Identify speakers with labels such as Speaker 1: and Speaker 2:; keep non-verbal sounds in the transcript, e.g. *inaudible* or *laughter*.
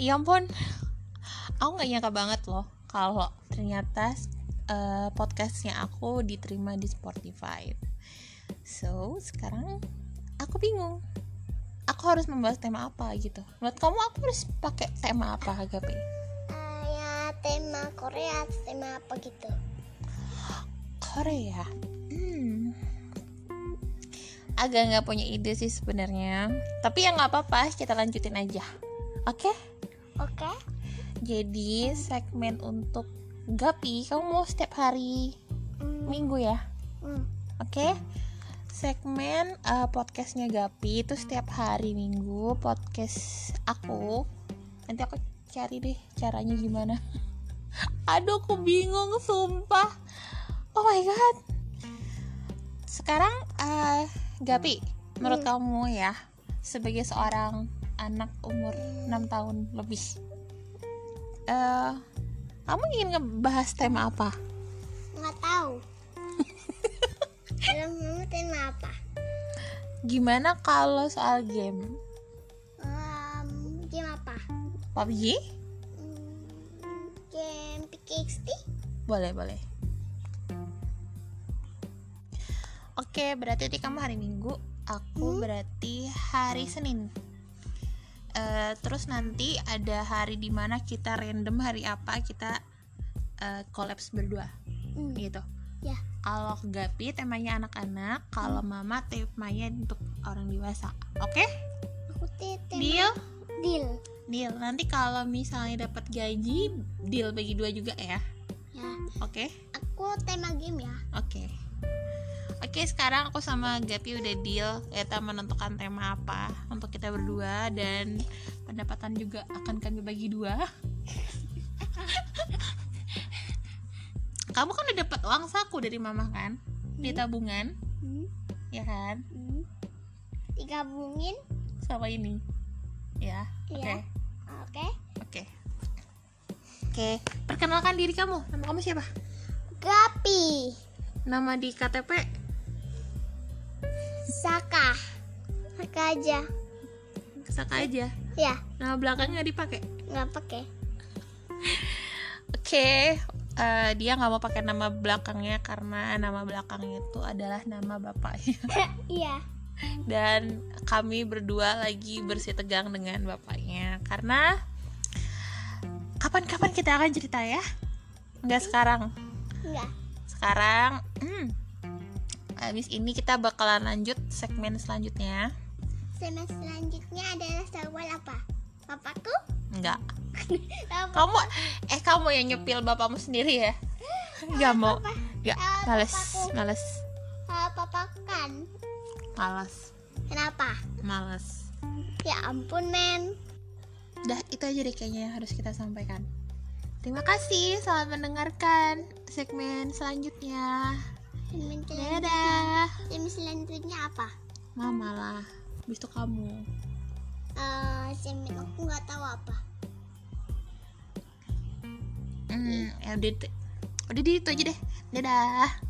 Speaker 1: ya ampun aku nggak nyangka banget loh kalau ternyata eh, podcastnya aku diterima di Spotify so sekarang aku bingung aku harus membahas tema apa gitu menurut kamu aku harus pakai tema apa Agapi
Speaker 2: Eh, ya tema Korea atau tema apa gitu
Speaker 1: Korea hmm. agak nggak punya ide sih sebenarnya tapi ya nggak apa-apa kita lanjutin aja oke
Speaker 2: oke
Speaker 1: jadi segmen untuk Gapi kamu mau setiap hari
Speaker 2: Hmm,
Speaker 1: minggu ya
Speaker 2: hmm.
Speaker 1: oke segmen eh, podcastnya Gapi itu setiap hari minggu podcast aku nanti aku cari deh caranya gimana *laughs* aduh aku bingung sumpah oh my god sekarang eh, Gapi menurut kamu ya sebagai seorang anak umur 6 tahun lebih eh kamu ingin ngebahas tema apa
Speaker 2: nggak tahu kalau kamu tema apa
Speaker 1: gimana kalau soal game
Speaker 2: Em, game apa
Speaker 1: PUBG
Speaker 2: Hmm, game PKXT
Speaker 1: Boleh, boleh. Oke, berarti tadi kamu hari Minggu, aku berarti hari Senin. Eh, terus nanti ada hari dimana kita random hari apa kita eh, collabs berdua,
Speaker 2: Hmm,
Speaker 1: gitu.
Speaker 2: Ya.
Speaker 1: Kalau Gapi temanya anak-anak, kalau Mama temanya untuk orang dewasa. Oke?
Speaker 2: aku te- tema
Speaker 1: Deal?
Speaker 2: deal
Speaker 1: Deal. Nanti kalau misalnya dapat gaji, deal bagi dua juga ya.
Speaker 2: ya
Speaker 1: Oke?
Speaker 2: aku tema game ya
Speaker 1: Oke. Oke, sekarang aku sama Gapi udah deal kita menentukan tema apa untuk kita berdua dan pendapatan juga akan kami bagi dua. Kamu kan udah dapat uang saku dari mama kan? Di tabungan,
Speaker 2: Hmm,
Speaker 1: ya kan?
Speaker 2: hmm. digabungin
Speaker 1: Sama ini. Ya. Oke.
Speaker 2: ya oke
Speaker 1: Oke. Oke, perkenalkan diri kamu. Nama kamu siapa?
Speaker 2: Gapi
Speaker 1: Nama di KTP
Speaker 2: Saka Saka aja
Speaker 1: Saka aja.
Speaker 2: ya
Speaker 1: Nama belakangnya nggak dipakai.
Speaker 2: nggak pakai *laughs*
Speaker 1: Oke, eh, dia nggak mau pakai nama belakangnya karena nama belakangnya itu adalah nama bapaknya. *laughs*
Speaker 2: iya
Speaker 1: Dan kami berdua lagi bersih tegang dengan bapaknya karena kapan-kapan kita akan cerita ya. Nggak sekarang.
Speaker 2: nggak
Speaker 1: Sekarang, hmm, habis ini kita bakalan lanjut segmen selanjutnya.
Speaker 2: Semen selanjutnya adalah soal apa papaku
Speaker 1: Enggak.
Speaker 2: Papa-
Speaker 1: Kamu, eh kamu yang nyepil bapakmu sendiri ya? Nggak mau. Nggak,
Speaker 2: Eh,
Speaker 1: males,
Speaker 2: bapakku.
Speaker 1: males,
Speaker 2: eh, papaku kan
Speaker 1: males,
Speaker 2: kenapa
Speaker 1: males.
Speaker 2: ya ampun men
Speaker 1: Udah, itu aja deh kayaknya yang harus kita sampaikan. Terima kasih, selamat mendengarkan segmen selanjutnya.
Speaker 2: Semen selan-
Speaker 1: Dadah.
Speaker 2: semen selanjutnya apa
Speaker 1: Mama lah, habis itu kamu.
Speaker 2: Eh, semen aku nggak tahu apa
Speaker 1: Hmm, ya udah, itu- udah di itu aja deh. Dadah.